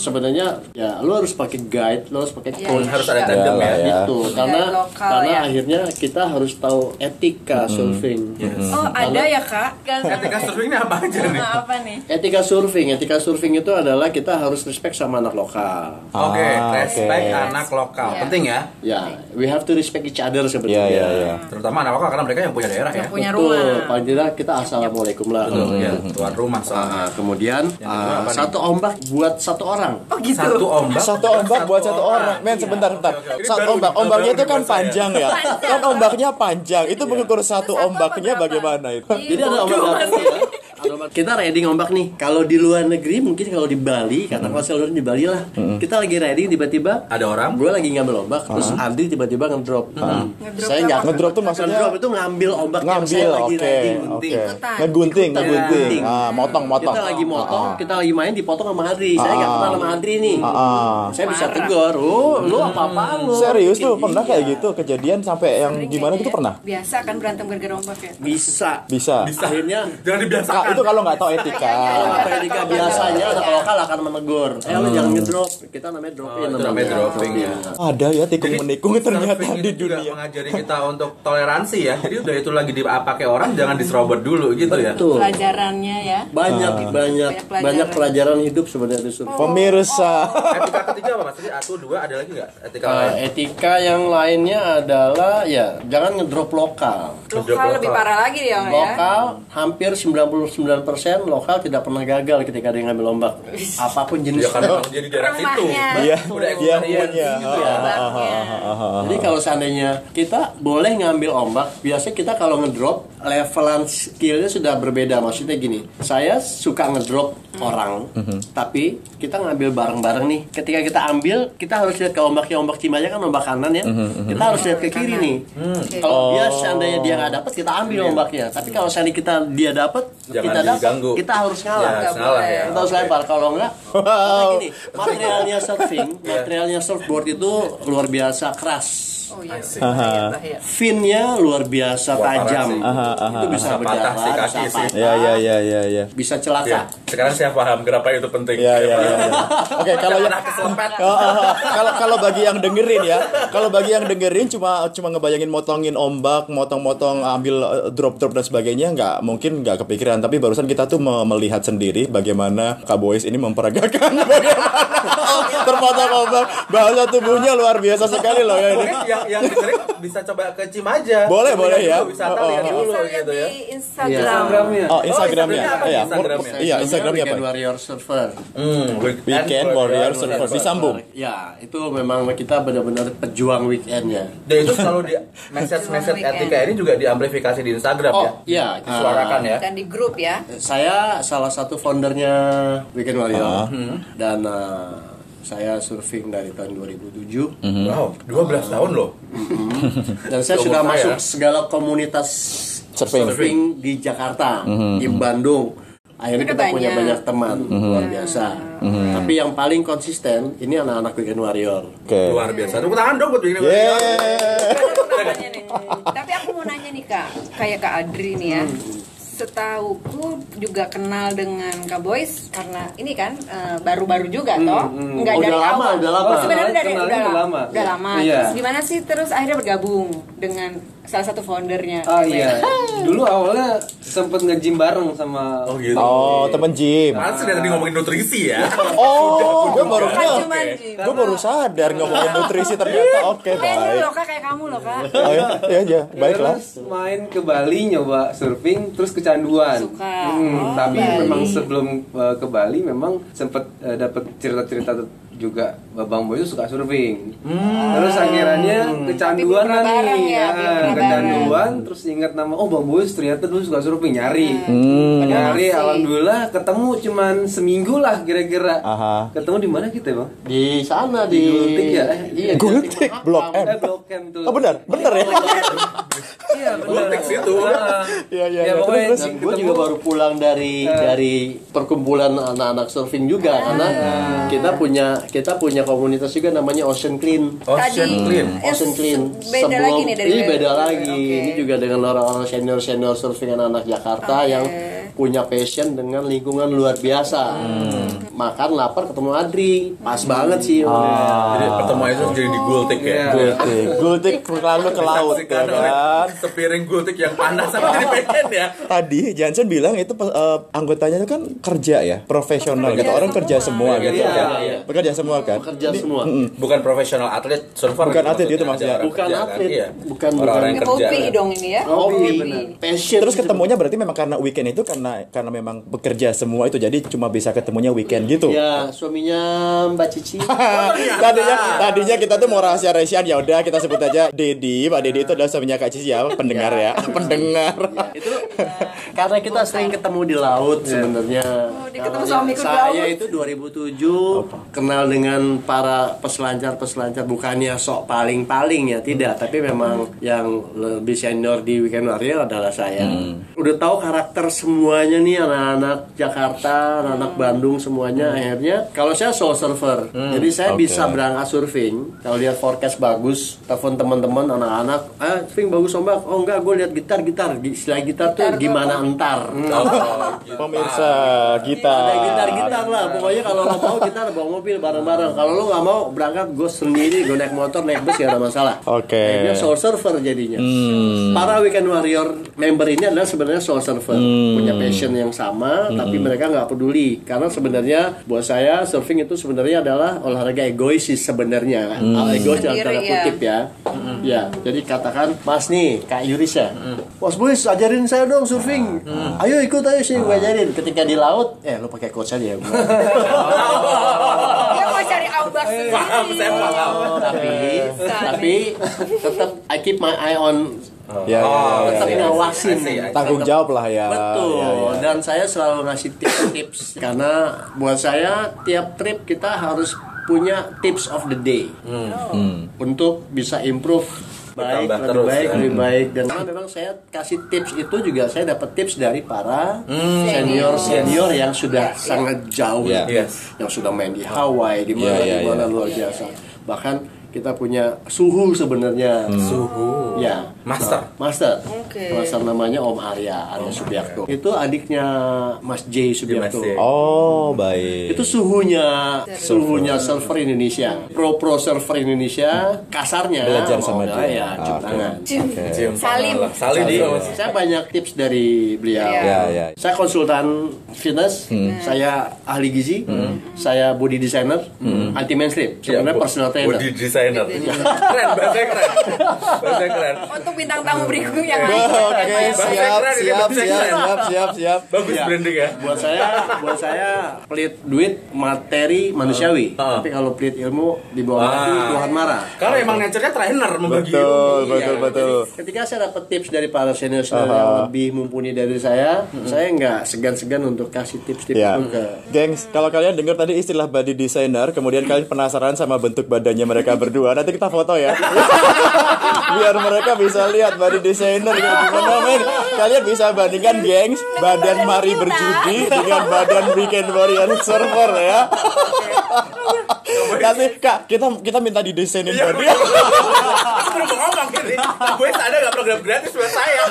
B: Sebenarnya ya lu harus pakai guide, lu harus pakai coach.
E: Harus ada tandem
H: Iyalah,
E: ya.
H: ya.
B: Gitu, karena
F: Ya, lokal,
B: karena
F: ya.
B: akhirnya kita harus tahu
H: Hmm,
B: etika surfing.
F: Oh ada ya kak? Kan-
E: Etika surfing ini apa aja nih?
F: Nah, apa nih?
B: Etika surfing, etika surfing itu adalah kita harus respect sama anak lokal.
E: Oke,
H: Ah,
E: respect
H: oke.
E: anak lokal.
F: Iya.
E: Penting ya.
B: Ya, we have to respect each
H: Iya,
B: other sebenarnya.
H: iya, iya.
E: Terutama anak lokal karena mereka yang punya daerah ya.
F: Yang punya
B: Betul,
F: rumah. Ya.
B: paling tidak kita assalamualaikum lah. Hmm.
E: Betul, ya. Tuan rumah soalnya.
B: Ah, kemudian
E: kedua
B: ah,
E: apa nih?
B: satu ombak buat satu orang.
F: Oh, gitu.
E: Satu ombak.
H: Satu ombak buat satu orang. Men sebentar, bentar.
E: Iya. Oke, oke. Ini
H: Satu
E: baru-
H: ombak,
E: baru Iya.
H: ombaknya itu
E: di
H: kan
E: masa ya.
H: panjang ya. Kan ombaknya panjang. Itu mengukur satu ombaknya bagaimana itu?
B: Jadi ada ombak datang ya. Ada ombak- Kita riding ombak nih. Kalau di luar negeri mungkin kalau di Bali, katakanlah seluruh di Bali lah. Kita lagi riding tiba-tiba
E: Ada orang.
B: gue lagi ngambil ombak, terus Andi tiba-tiba ngedrop. Hmm. Saya nggak
H: Ngedrop tuh maksudnya-
B: ngedrop itu ngambil ombak yang saya
H: Ngambil,
B: lagi
H: oke,
B: riding.
H: oke.
F: Ikutan.
H: Ngegunting,
B: Ikutan.
H: ngegunting.
B: Gunting.
H: Ah, motong, motong.
B: Kita lagi motong, kita lagi main dipotong sama Adri. Saya nggak
H: Ah.
B: kenal sama Adri nih.
H: Ah.
B: Saya bisa tegur, oh, lu
E: Hmm.
B: apa-apaan lu?
H: Serius tuh
B: Iya.
H: pernah kayak gitu kejadian sampai yang gimana gitu pernah?
F: Biasa kan berantem gara-gara ombak ya?
B: Bisa.
H: Bisa.
B: Akhirnya
E: Jangan dibiasakan.
H: Kak, itu kalau nggak tahu etika.
E: Iya,
B: Kalau nggak etika biasanya anak lokal akan menegur. Eh
H: Hmm.
B: lu jangan ngedrop. Kita namanya Iya. drop in.
E: Oh, itu namanya dropping ya.
H: Ada ya tikung
E: Jadi,
H: menikung ternyata
E: surfing
H: di
E: itu juga
H: dunia.
E: mengajari kita untuk toleransi ya. Jadi udah itu lagi dipakai orang jangan diserobot dulu gitu ya.
B: Betul.
F: Pelajarannya ya.
B: Banyak
H: Hmm.
B: banyak
F: Banyak pelajaran.
B: banyak pelajaran hidup sebenarnya di survei.
E: Oh.
H: Pemirsa.
E: Etika ketiga apa mas? Jadi satu dua ada lagi nggak? Etika
B: Eh,
E: lain.
B: etika yang lainnya adalah ya jangan ngedrop lokal.
F: Lokal lebih parah lagi
E: Oh,
F: ya Kak, ya?
B: Lokal hampir 99% lokal tidak pernah gagal ketika dia ngambil ombak. Apapun
E: Ya
B: jenisnya.
E: kan memang jadi daerah itu.
F: Rumahnya.
H: Iya,
E: Udah
H: dia
E: experience
H: punya.
E: gitu
B: Iya.
E: ya.
F: Ombaknya.
B: Jadi kalau seandainya kita boleh ngambil ombak, biasanya kita kalau ngedrop levelan skillnya sudah berbeda. Maksudnya gini, saya suka ngedrop orang, tapi kita ngambil bareng-bareng nih. Ketika kita ambil, kita harus lihat ke ombaknya ombak cimanya kan ombak kanan ya. Kita harus lihat ke kiri nih. Kalau
I: Oh.
B: dia seandainya dia nggak dapat, kita ambil ombaknya. Tapi kalau seandainya kita dia dapat,
I: Iya. Jangan
B: kita dapat,
I: diganggu.
B: kita harus ngalah.
I: Ya, salah ya.
B: Kita harus
I: Oke.
B: lempar kalau enggak. Karena gini, materialnya surfing,
I: Ya.
B: materialnya surfboard itu luar biasa keras.
D: Oh iya,
I: Asik.
D: bahaya, bahaya.
B: Finnya luar biasa
I: Wah, parah
B: tajam.
I: sih.
B: Itu bisa
I: Bisa patah
B: berdarah,
I: sih
B: bisa
I: kaki sih. Iya.
B: patah,
H: Ya ya ya ya ya.
B: bisa
E: Iya.
I: Oke,
B: celaka.
I: Sekarang saya paham kenapa itu penting.
H: Ya ya ya. ya. Oke, kalau
I: Kalau
H: yang
I: pernah keselempet.
H: Oh, oh, oh. kalau kalau bagi yang dengerin ya, kalau bagi yang dengerin cuma cuma ngebayangin motongin ombak, motong-motong ambil eh, drop-drop dan sebagainya nggak mungkin nggak kepikiran. Tapi barusan kita tuh me- melihat sendiri bagaimana Cowboys ini memperagakan bagaimana terpotong ombak, bahasa tubuhnya luar biasa sekali loh ya ini.
I: Mungkin yang yang dengerin bisa coba ke Cimaja.
H: Boleh,
I: Tapi
H: boleh
I: yang
H: ya.
I: dulu
H: Oh,
I: Wisata
H: oh,
I: lihat
H: oh.
I: dulu
D: Bisa lihat
I: gitu ya.
D: di
B: Iya.
D: Instagram.
H: Oh, Instagramnya,
I: Instagramnya apa?
H: iya, mur-
I: Instagramnya.
H: iya Instagramnya
B: Weekend
H: apa?
B: Warrior Surfer.
I: Hmm,
H: Weekend Warrior Surfer disambung.
B: Ya, itu memang kita benar-benar pejuang weekendnya.
I: Dan itu selalu di message-message
F: Weekend.
I: etika ini juga diamplifikasi di Instagram ya.
B: Oh, iya.
I: Disuarakan ya.
F: Dan di grup ya.
B: Saya salah satu foundernya Weekend Warrior dan eh, saya surfing dari tahun 2007
H: Hmm.
I: Wow, 12 tahun loh.
B: dan saya
I: Seumur
B: sudah
J: ya?
I: saya.
B: masuk segala komunitas surfing, di Jakarta, di Bandung.
F: Udah
B: Akhirnya kita punya
F: banyak.
B: banyak teman luar biasa. Tapi yang paling konsisten ini anak-anak Weekend Warrior.
H: Oke.
I: Luar biasa. Tepuk tangan dong buat bikin
H: Yeay.
F: Nanya nih. Tapi aku mau nanya nih kak, kayak kak Adri nih ya. Setauku juga kenal dengan Kak Boys karena ini kan eh, baru-baru juga toh, nggak
B: Udah
F: dari
B: lama,
F: awal.
B: udah lama.
F: Oh, Sebenarnya dari
J: Kenalnya
F: udah
J: udah
F: lama.
J: lama.
F: Udah lama.
J: Iya.
F: Terus gimana sih terus akhirnya bergabung dengan salah satu foundernya?
E: Ah,
J: Oh iya. Dulu awalnya sempet nge-gym bareng sama
I: Oh gitu.
H: Oh, temen gym.
I: Kan sedang ngomongin nutrisi ya.
H: Oh, gue baru
F: Bukan Kan cuma Jim.
H: Gue baru sadar ngomongin nutrisi ternyata oke
F: Kayaknya
H: baik.
F: loh kak, kayak kamu loh kak.
H: Oh ya, ya, ya. baiklah.
J: Terus main ke Bali nyoba surfing terus kecanduan.
F: Suka. Oh,
J: Hmm, tapi
F: Bali.
J: memang sebelum uh, ke Bali memang sempet uh, dapet cerita-cerita juga Bang Boy itu suka surfing. Terus akhirnya kecanduan
F: Tapi belum pernah
J: nih.
F: bareng ya,
J: Ah,
F: belum pernah
J: kecanduan terus ingat nama oh Bang Boy ternyata dulu suka surfing nyari.
B: Iya.
H: Hmm.
J: Nyari
F: masih.
J: alhamdulillah ketemu cuman seminggu lah kira-kira.
H: Aha.
J: Ketemu di mana kita, Bang?
B: Di sana
J: Di
B: di,
J: Gultik ya?
B: Iya, di
H: Gultik Blok M.
J: Eh, Blok M tuh.
H: Oh benar, benar ya.
J: Iya, benar.
I: Gultik situ.
H: Iya, iya.
J: Ya,
H: iya.
J: pokoknya
H: Terus,
J: yang
B: Dan gue juga baru pulang dari
I: Eh.
B: dari perkumpulan anak-anak surfing juga karena kita punya kita punya komunitas juga namanya Ocean Clean.
I: Ocean clean.
F: eh,
B: Ocean Clean.
F: se- Beda lagi nih dari
B: ini beda lagi.
F: Oke.
B: Ini juga dengan orang-orang senior-senior surfing anak-anak Jakarta
F: Oke.
B: yang punya passion dengan lingkungan luar biasa.
I: Hmm.
B: Makan lapar ketemu Adri. Pas banget sih.
I: Ah. Jadi pertemuan itu jadi di gultik ya.
H: Ah. Iya. Gultik, gultik lalu ke laut ya
I: Disaksikan oleh
H: kan.
I: sepiring gultik yang panas sama jadi pengen ya.
H: Tadi Jansen bilang itu eh, anggotanya itu kan kerja ya, profesional gitu. Orang kerja semua gitu
I: Iya,
H: kan.
I: iya.
H: Bekerja semua kan.
B: Kerja semua.
I: Bukan profesional atlet, surfer.
H: Bukan atlet gitu, ya? itu maksudnya.
I: Ada orang
B: Bukan
I: kerja, kan?
B: atlet.
I: Iya.
B: Bukan-
I: orang-orang yang
F: Ini
I: kerja.
F: Hobi dong ini ya.
B: Hobi, passion. gitu.
H: Terus ketemunya berarti memang karena weekend itu karena karena memang bekerja semua itu jadi cuma bisa ketemunya weekend gitu.
B: Ya, suaminya Mbak Cici.
H: tadinya tadinya kita tuh mau rahasia rahasiaan ya udah kita sebut aja Dedi Pak Dedi itu adalah suaminya Kak Cici ya pendengar ya pendengar
B: Iya. itu karena kita sering ketemu di laut sebenarnya. Oh,
F: diketemu suamiku di
B: saya
F: laut.
B: itu 2007 kenal dengan para peselancar-peselancar bukannya sok paling-paling ya, tidak, tapi memang yang lebih senior di Weekend Warrior adalah saya. Udah tahu karakter semuanya nih anak-anak Jakarta, anak-anak Bandung semuanya akhirnya kalau saya soul surfer. Jadi saya bisa berangkat surfing, kalau lihat forecast bagus, telepon teman-teman anak-anak, "Ah, surfing bagus ombak." "Oh, enggak, gue lihat gitar-gitar." Di istilah gitar tuh gimana entar.
I: Oh, gitu.
H: pemirsa
B: Iya.
H: kita
B: Ada gitar-gitar lah, pokoknya kalau lo mau gitar bawa mobil bareng-bareng. Kalau lo nggak mau berangkat, gue sendiri, gue naik motor, naik bus ya ada masalah.
H: Oke.
B: Akhirnya soul surfer jadinya. Para weekend warrior member ini adalah sebenarnya soul surfer, punya passion yang sama, tapi mereka nggak peduli karena sebenarnya buat saya surfing itu sebenarnya adalah olahraga egois sih sebenarnya, Ah, egois dalam tanda
F: Sendiri, ya.
B: kutip ya. Ya, jadi katakan Mas nih, Kak Yuris ya. Mas Buis ajarin saya dong surfing. Ayo ikut ayo sih gue ajarin. Ketika di laut, eh lu pakai coach aja ya.
F: Dia mau cari ombak
I: Paham, saya paham.
B: tapi tapi tetap I keep my eye on
H: Ya, ya,
B: tetap
H: ya, ya.
B: ngawasin
H: Tanggung
B: Tetap-
H: jawab lah ya.
I: Iya,
B: Oh, Betul.
H: Ya, ya.
B: Dan saya selalu ngasih tips-tips karena buat saya tiap trip kita harus punya tips of the day untuk bisa improve baik
I: Hmm. Bertambah
B: lebih
I: terus,
B: baik
I: ya.
B: lebih baik dan karena memang saya kasih tips itu juga saya dapat tips dari para senior senior yang sudah sangat jauh
H: Ya.
I: Hmm. Yes. Iya,
B: yang sudah main di Hawaii di
H: Ya,
B: mana
H: ya,
B: di mana luar biasa bahkan kita punya suhu sebenarnya
I: Hmm. Suhu.
B: ya
I: Master.
B: master
D: Oke.
B: master namanya Om Arya Arya Subiakto itu adiknya Mas J Subiakto
I: J.
H: Oh,
I: Iya.
H: baik.
B: itu suhunya suhunya server Indonesia pro pro server Indonesia kasarnya
H: Belajar
B: mau
H: sama
B: nggak
H: dia.
B: ya cium
H: Oke.
B: tangan.
I: Cium
D: Salim.
I: tangan lah. Salim di
B: saya banyak tips dari beliau
H: Ya, ya.
B: saya konsultan fitness saya ahli gizi saya body designer anti mainstream sebenarnya personal trainer
I: Iya, Body designer. Keren, bahasanya keren. Bahasanya keren.
D: Untuk bintang tamu berikut yang lain.
H: Oke,
I: Bahasa
H: siap,
I: keren, ini
H: siap,
I: bahasa
H: siap,
I: keren.
H: siap, siap, siap.
I: Bagus
B: Ya.
I: branding ya.
B: buat saya buat saya pelit duit materi manusiawi
I: Ah.
B: tapi kalau pelit ilmu di bawah
I: Wah.
B: hati Tuhan marah
I: Karena emang nature-nya trainer membagi
H: Betul,
I: ilmu.
H: betul,
I: Iya.
H: betul.
B: ketika saya dapat tips dari para senior senior yang lebih mumpuni dari saya saya nggak segan-segan untuk kasih tips-tips
H: Ya.
B: itu
J: Iya.
B: ke
H: Gengs, kalau kalian dengar tadi istilah body designer, kemudian kalian penasaran sama bentuk badannya mereka berdua, nanti kita foto ya. Biar mereka bisa lihat body designer kayak gimana, men. Kalian bisa bandingkan, gengs, badan Mari berjudi dengan badan Weekend Warrior Server ya. Nanti Kak, kita kita minta didesainin
J: Iya.
H: badan.
I: Aku belum ngomong gini. Gue ada nggak program gratis buat saya.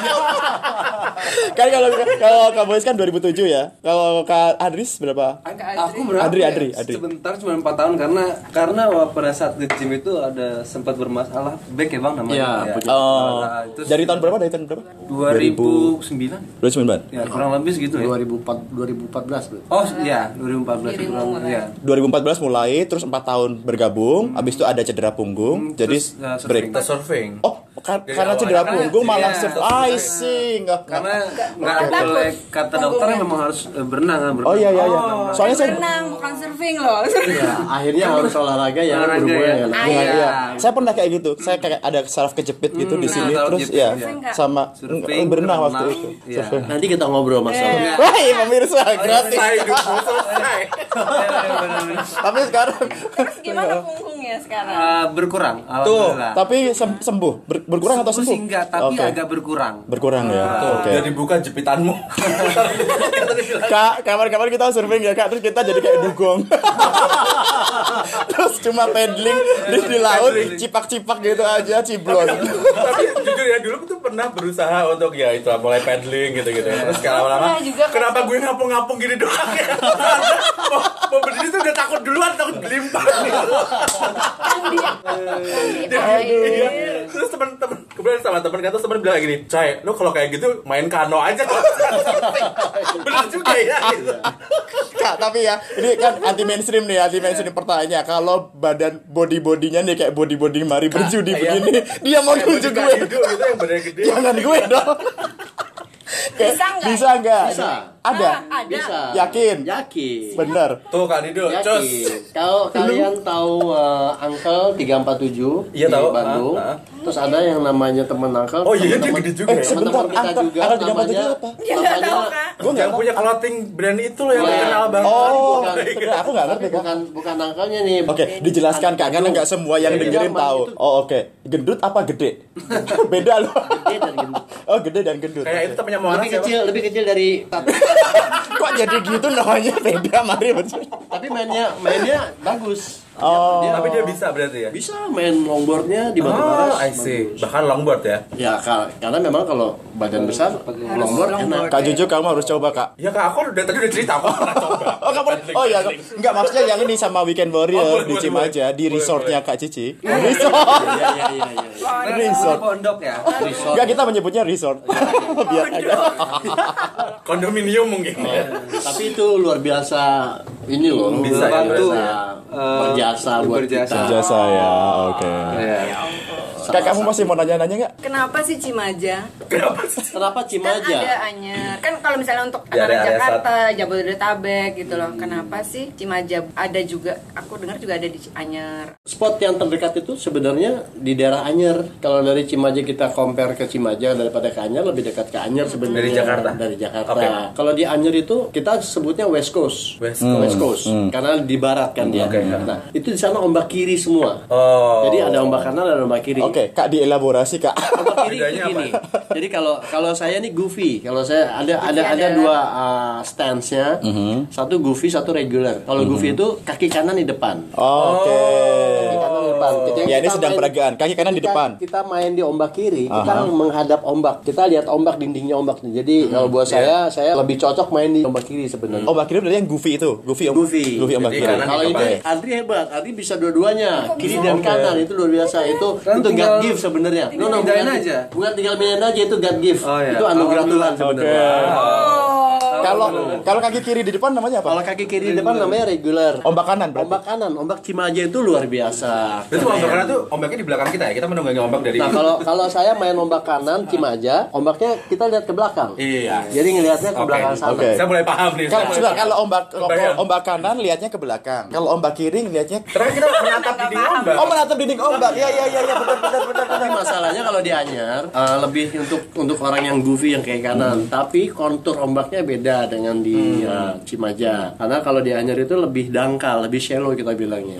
H: kan kalau kalau Kak Boys kan 2007 ya. Kalau Kak Adris berapa?
J: Aku berapa?
H: Adri,
J: ya?
H: Adri, Adri.
J: Sebentar cuma 4 tahun karena karena pada saat di gym itu ada sempat bermasalah back ya Bang
B: Iya,
J: namanya.
B: punya
H: Oh.
J: Nah, terus
H: Dari tahun berapa? Dari tahun berapa?
J: 2009.
H: 2009.
J: Ya, kurang lebih segitu ya.
B: 2004 2014 bro.
J: Oh, iya, 2014 kurang lebih. Ya.
H: 2014 mulai terus 4 tahun bergabung habis itu ada cedera punggung
J: Hmm,
H: jadi
J: terus, uh,
H: break
J: surfing.
I: Kita surfing.
H: oh kar-
I: Jadi
H: karena
I: awalnya
H: cedera
I: karena-
H: punggung malah
J: iya,
H: surf
J: terus
H: I
J: break.
H: see nggak
J: Karena nggak
D: nggak
J: boleh
D: takut.
J: kata dokternya memang harus eh, berenang kan,
H: oh iya iya iya soalnya saya
D: Renang, bukan surfing loh.
B: ya akhirnya harus olahraga yang
J: Olahraga
B: berhubungan
J: ya.
B: dengan
H: Iya, iya. Saya pernah kayak gitu. Saya kayak ada saraf kejepit gitu di sini
J: saraf
H: terus
J: Hmm, kejepit,
H: ya
J: iya.
H: sama
J: Surfing,
H: berenang waktu
J: berenang,
H: itu.
J: iya. Oh,
H: Surfing.
B: nanti kita ngobrol
I: Eh,
B: masalah
H: Wah, iya, pemirsa gratis.
I: Selesai hidupmu,
J: iya,
I: selesai.
H: Tapi sekarang
F: gitu.
D: Gimana punggungnya sekarang?
J: Eh, berkurang alhamdulillah.
H: tapi sem- sembuh Ber- berkurang atau sembuh?
J: sih enggak, tapi
H: Oke.
J: agak Ah, berkurang.
H: berkurang ya. Oke.
I: Jadi buka jepitanmu.
H: Kak, kapan-kapan kita surfing ya kak Terus kita jadi kayak dugong Terus cuma paddling di, di laut Cipak-cipak gitu aja, ciblon
I: Tapi jujur ya dulu tuh pernah berusaha untuk ya itu mulai paddling gitu-gitu. Terus kalau lama
D: Pernah juga, kan Kak.
I: kenapa gue ngapung-ngapung gini doang ya? Mau, mau berdiri tuh udah takut duluan, takut gelimpang gitu.
D: Kan
I: Iya. Terus teman-teman kemudian sama teman kata teman bilang gini, "Cai, lu kalau kayak gitu main kano aja." Bener juga ya. gitu.
H: Kak, tapi ya Ini kan anti mainstream nih, anti mainstream
I: Iya.
H: pertanyaannya Kalau badan body-bodinya nih kayak body-body mari berjudi
I: iya.
H: begini Dia mau
I: Kayak
H: nunjuk
I: boneka
H: gue
I: hidup gitu yang badannya gede.
H: Jangan gue dong Kayak,
D: Bisa nggak?
H: Bisa nggak?
B: Bisa.
H: Ada?
D: Ah, ada.
B: bisa
H: Yakin?
B: yakin
H: Bener
I: Tuh Kak Dido, ya. cus.
B: Yakin. Kalau kalian tahu eh, Uncle 347
I: Iya,
B: di
I: tahu.
B: Bandung,
I: Ah, ah.
B: terus ada yang namanya teman Uncle.
I: Oh iya, dia
B: teman-teman-
I: gede juga
H: Eh,
I: ya.
H: sebentar,
B: teman-teman kita
H: Uncle-
B: juga
H: Uncle 347
B: namanya-
H: apa?
D: Dia nggak Iya, tahu
B: namanya-
D: kak.
H: Gue nggak
I: Yang punya clothing brand itu loh yang
B: Iya.
I: terkenal banget.
H: Oh,
B: Bukan.
H: bener, aku nggak ngerti
B: Tapi
H: kak
B: bukan bukan angkelnya nih.
H: Oke, dijelaskan Kak, karena nggak semua yang
B: Iya,
H: dengerin
B: iya.
H: tahu. Oh, oke. Gendut apa gede? Beda loh.
B: Gede dan gendut.
H: Oh, gede dan gendut.
I: Kayak itu temannya Moana
B: Lebih
I: siapa?
B: kecil, lebih kecil dari tapi,
H: Kok jadi gitu namanya beda, mari betul.
B: tapi mainnya mainnya bagus.
H: Oh.
I: Tapi dia bisa berarti ya.
B: Bisa main longboardnya di batu
I: Ah, I
B: baras.
I: see. Bahkan longboard ya.
B: Ya, ka- karena memang kalau badan besar longboard enak.
H: Kak Jojo kamu harus coba, Kak.
I: Ya kak, aku udah tadi udah cerita aku pernah coba.
H: Oh, kamu Oh iya, enggak maksudnya yang ini sama Weekend
I: Oh,
H: Warrior
I: boleh,
H: di
I: boleh,
H: Cimaja
I: boleh.
H: di
I: Boleh,
H: resortnya
I: boleh.
H: Kak Cici. Resort.
B: Iya, iya, iya, iya.
D: Oh,
H: Resort.
J: Pondok ya.
B: Resort. Iya,
H: Enggak kita menyebutnya resort. Biar ada.
I: Kondominium mungkin. ya.
H: Oh,
B: Tapi itu luar biasa ini loh.
I: Bisa ya,
B: luar biasa
J: berjasa.
B: berjasa buat
J: Berjasa.
B: kita.
H: Jasa ya, oke.
J: Iya.
H: Kakakmu masih mau nanya-nanya nggak?
D: Kenapa sih Cimaja?
B: Kenapa Kenapa
D: Kan
B: Cimaja?
D: ada Anyer. Kan kalau misalnya untuk
B: Di
D: anak
B: area-area
D: Jakarta, Jabodetabek gitu loh. Kenapa sih Cimaja ada juga? Aku dengar juga ada di Anyer.
B: Spot yang terdekat itu sebenarnya di daerah Anyer. Kalau dari Cimaja kita compare ke Cimaja daripada ke Anyer lebih dekat ke Anyer sebenarnya.
I: Dari Jakarta?
B: Dari Jakarta.
I: Oke.
B: Kalau di Anyer itu kita sebutnya West Coast.
I: West Coast. Hmm.
B: Karena di barat kan dia.
I: Oke. ya.
B: Nah, itu di sana ombak kiri semua.
I: Oh.
B: Jadi ada ombak kanan dan ombak kiri.
H: Oke, Kak dielaborasi Kak.
B: Ombak kiri itu gini. Jadi kalau kalau saya nih goofy. Kalau saya ada ada ada
H: adalah-
B: dua uh, stance-nya.
I: Mhm.
B: Satu goofy, satu regular. Kalau goofy itu kaki kanan di depan.
H: Oke.
B: Kaki kanan di depan. Ketika
H: Ya ini
B: kan kita
H: sedang
B: main-
H: peragaan. Kaki kanan di
B: kita-
H: depan.
B: Kita main di ombak kiri, kita kan
H: Aha. Hmm.
B: menghadap ombak. Kita lihat ombak dindingnya ombak. nih. Jadi kalau buat saya, saya lebih cocok main di ombak kiri
H: Ya.
B: sebenarnya.
H: Oh, Mbak Kiri berarti yang Goofy itu. Goofy om. Goofy. Goofy om Mbak Kiri.
B: Kalau ini Andri hebat, Andri bisa dua-duanya, kiri dan
H: Oke.
B: kanan itu luar biasa. Itu
J: Kan
B: itu God
J: tinggal-
B: gift sebenarnya. No no,
J: pindahin
B: bukan
J: aja.
B: Bukan tinggal pindahin aja itu God gift.
J: iya.
B: Itu anugerah Tuhan
J: Alhamdulillah.
B: sebenarnya.
I: Oh.
H: Kalau kalau kaki kiri di depan namanya apa?
B: Kalau kaki kiri di depan namanya regular.
H: Ombak kanan berarti.
B: Ombak kanan, ombak Cimaja itu luar biasa.
I: Itu ombak kanan tuh ombaknya di belakang kita ya. Kita menunggangi ombak dari
B: Nah kalau kalau saya main ombak kanan Cimaja, ombaknya kita lihat ke belakang.
I: Iya.
B: Jadi ngelihatnya ke
I: Oke.
B: belakang sana.
H: Oke.
I: Saya mulai paham nih.
H: Kalau
I: saya mulai
H: sebentar,
I: paham.
H: kalau ombak
I: Kebayang.
H: ombak kanan lihatnya ke belakang. Kalau ombak kiri lihatnya
I: Terus kita menatap di ombak.
H: Oh, menatap dinding ombak. Ya ya ya ya benar benar benar.
B: Tapi masalahnya kalau di Anyar eh, lebih untuk untuk orang yang goofy yang kayak kanan, tapi kontur ombaknya beda dengan di eh, Cimaja. Karena kalau di Anyar itu lebih dangkal, lebih shallow kita bilangnya.